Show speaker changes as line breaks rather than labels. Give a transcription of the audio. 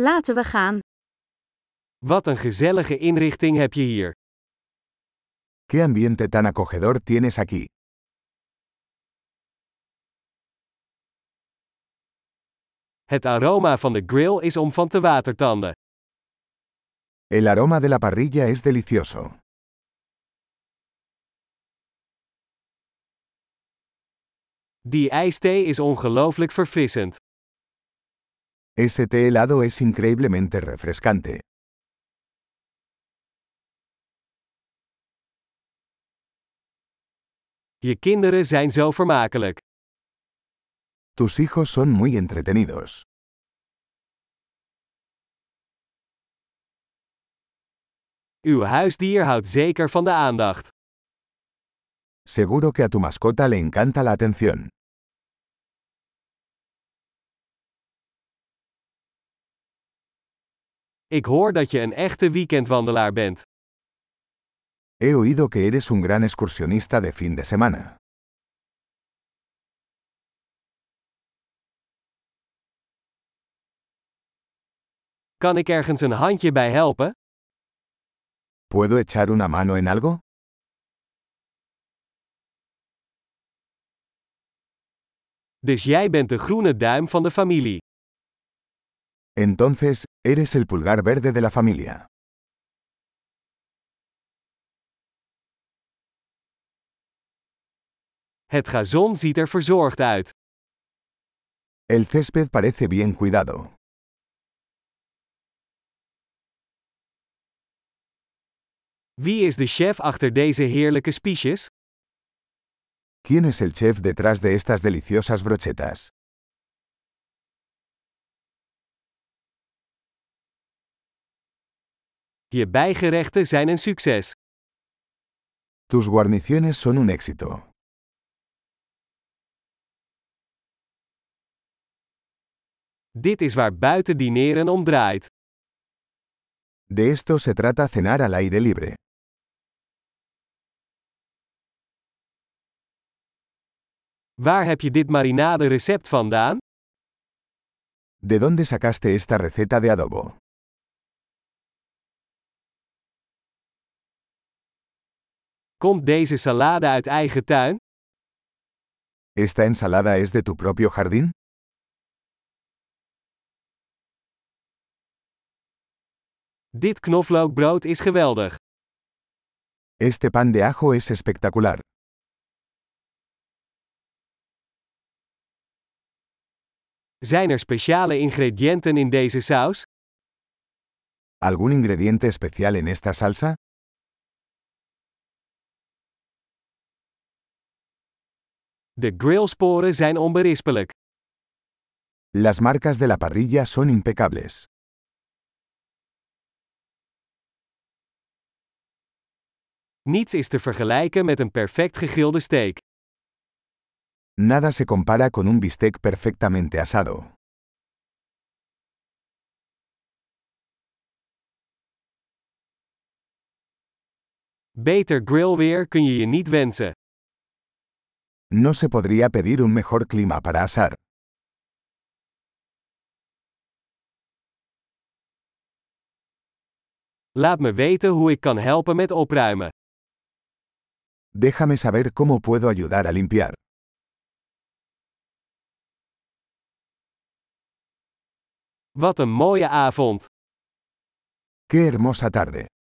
Laten we gaan.
Wat een gezellige inrichting heb je hier.
¿Qué ambiente tan acogedor tienes aquí?
Het aroma van de grill is om van te watertanden.
El aroma de la parrilla es delicioso.
Die ijsthee is ongelooflijk verfrissend.
Ese té helado es increíblemente refrescante.
Je kinderen zijn zo vermakelijk.
Tus hijos son muy entretenidos.
Uw huisdier houdt zeker van de aandacht.
Seguro que a tu mascota le encanta la atención.
Ik hoor dat je een echte weekendwandelaar bent.
He oído que eres un gran excursionista de fin de semana.
Kan ik ergens een handje bij helpen?
¿Puedo echar una mano en algo?
Dus jij bent de groene duim van de familie.
Entonces, eres el pulgar verde de la familia.
Het gazon ziet er verzorgd uit.
El césped parece bien cuidado.
Wie is de chef achter deze heerlijke spiesjes?
¿Quién es el chef detrás de estas deliciosas brochetas?
Je bijgerechten zijn een succes.
Tus guarniciones son un éxito.
Dit is waar buiten dineren om draait.
De esto se trata cenar al aire libre.
Waar heb je dit marinade recept vandaan?
¿De dónde sacaste esta receta de adobo?
Komt deze salade uit eigen tuin?
¿Esta ensalada es de tu propio jardín?
Dit knoflookbrood is geweldig.
Este pan de ajo es espectacular.
Zijn er speciale ingrediënten in deze saus?
¿Algún ingrediente especial en esta salsa?
De grillsporen zijn onberispelijk.
Las marcas de la parrilla son impecables.
Niets is te vergelijken met een perfect gegrilde steak.
Nada se compara con un bistec perfectamente asado.
Beter grillweer kun je je niet wensen.
No se podría pedir un mejor clima para asar.
Laat me weten hoe ik kan helpen met opruimen.
Déjame saber cómo puedo ayudar a limpiar.
Wat een mooie avond!
¡Qué hermosa tarde!